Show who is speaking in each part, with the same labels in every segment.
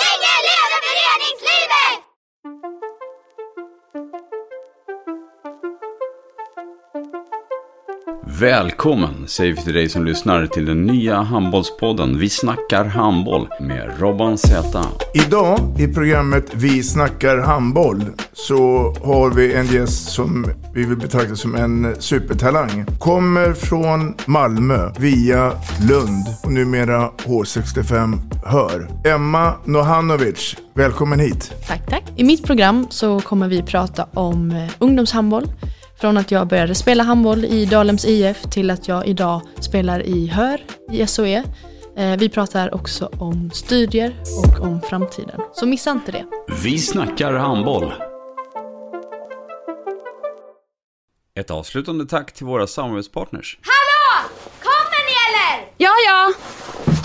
Speaker 1: Länge leve föreningslivet!
Speaker 2: Välkommen säger vi till dig som lyssnar till den nya handbollspodden Vi snackar handboll med Robban Z.
Speaker 3: Idag i programmet Vi snackar handboll så har vi en gäst som vi vill betrakta som en supertalang. Kommer från Malmö via Lund och numera H65 Hör. Emma Nohanovic, välkommen hit.
Speaker 4: Tack, tack. I mitt program så kommer vi prata om eh, ungdomshandboll. Från att jag började spela handboll i Dalhems IF till att jag idag spelar i HÖR i SOE. Eh, Vi pratar också om studier och om framtiden. Så missa inte det.
Speaker 2: Vi snackar handboll. Ett avslutande tack till våra samarbetspartners.
Speaker 1: Hallå! Kommer ni eller?
Speaker 5: Ja, ja.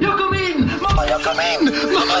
Speaker 6: Jag kom in! Mamma, jag kom in! Mamma,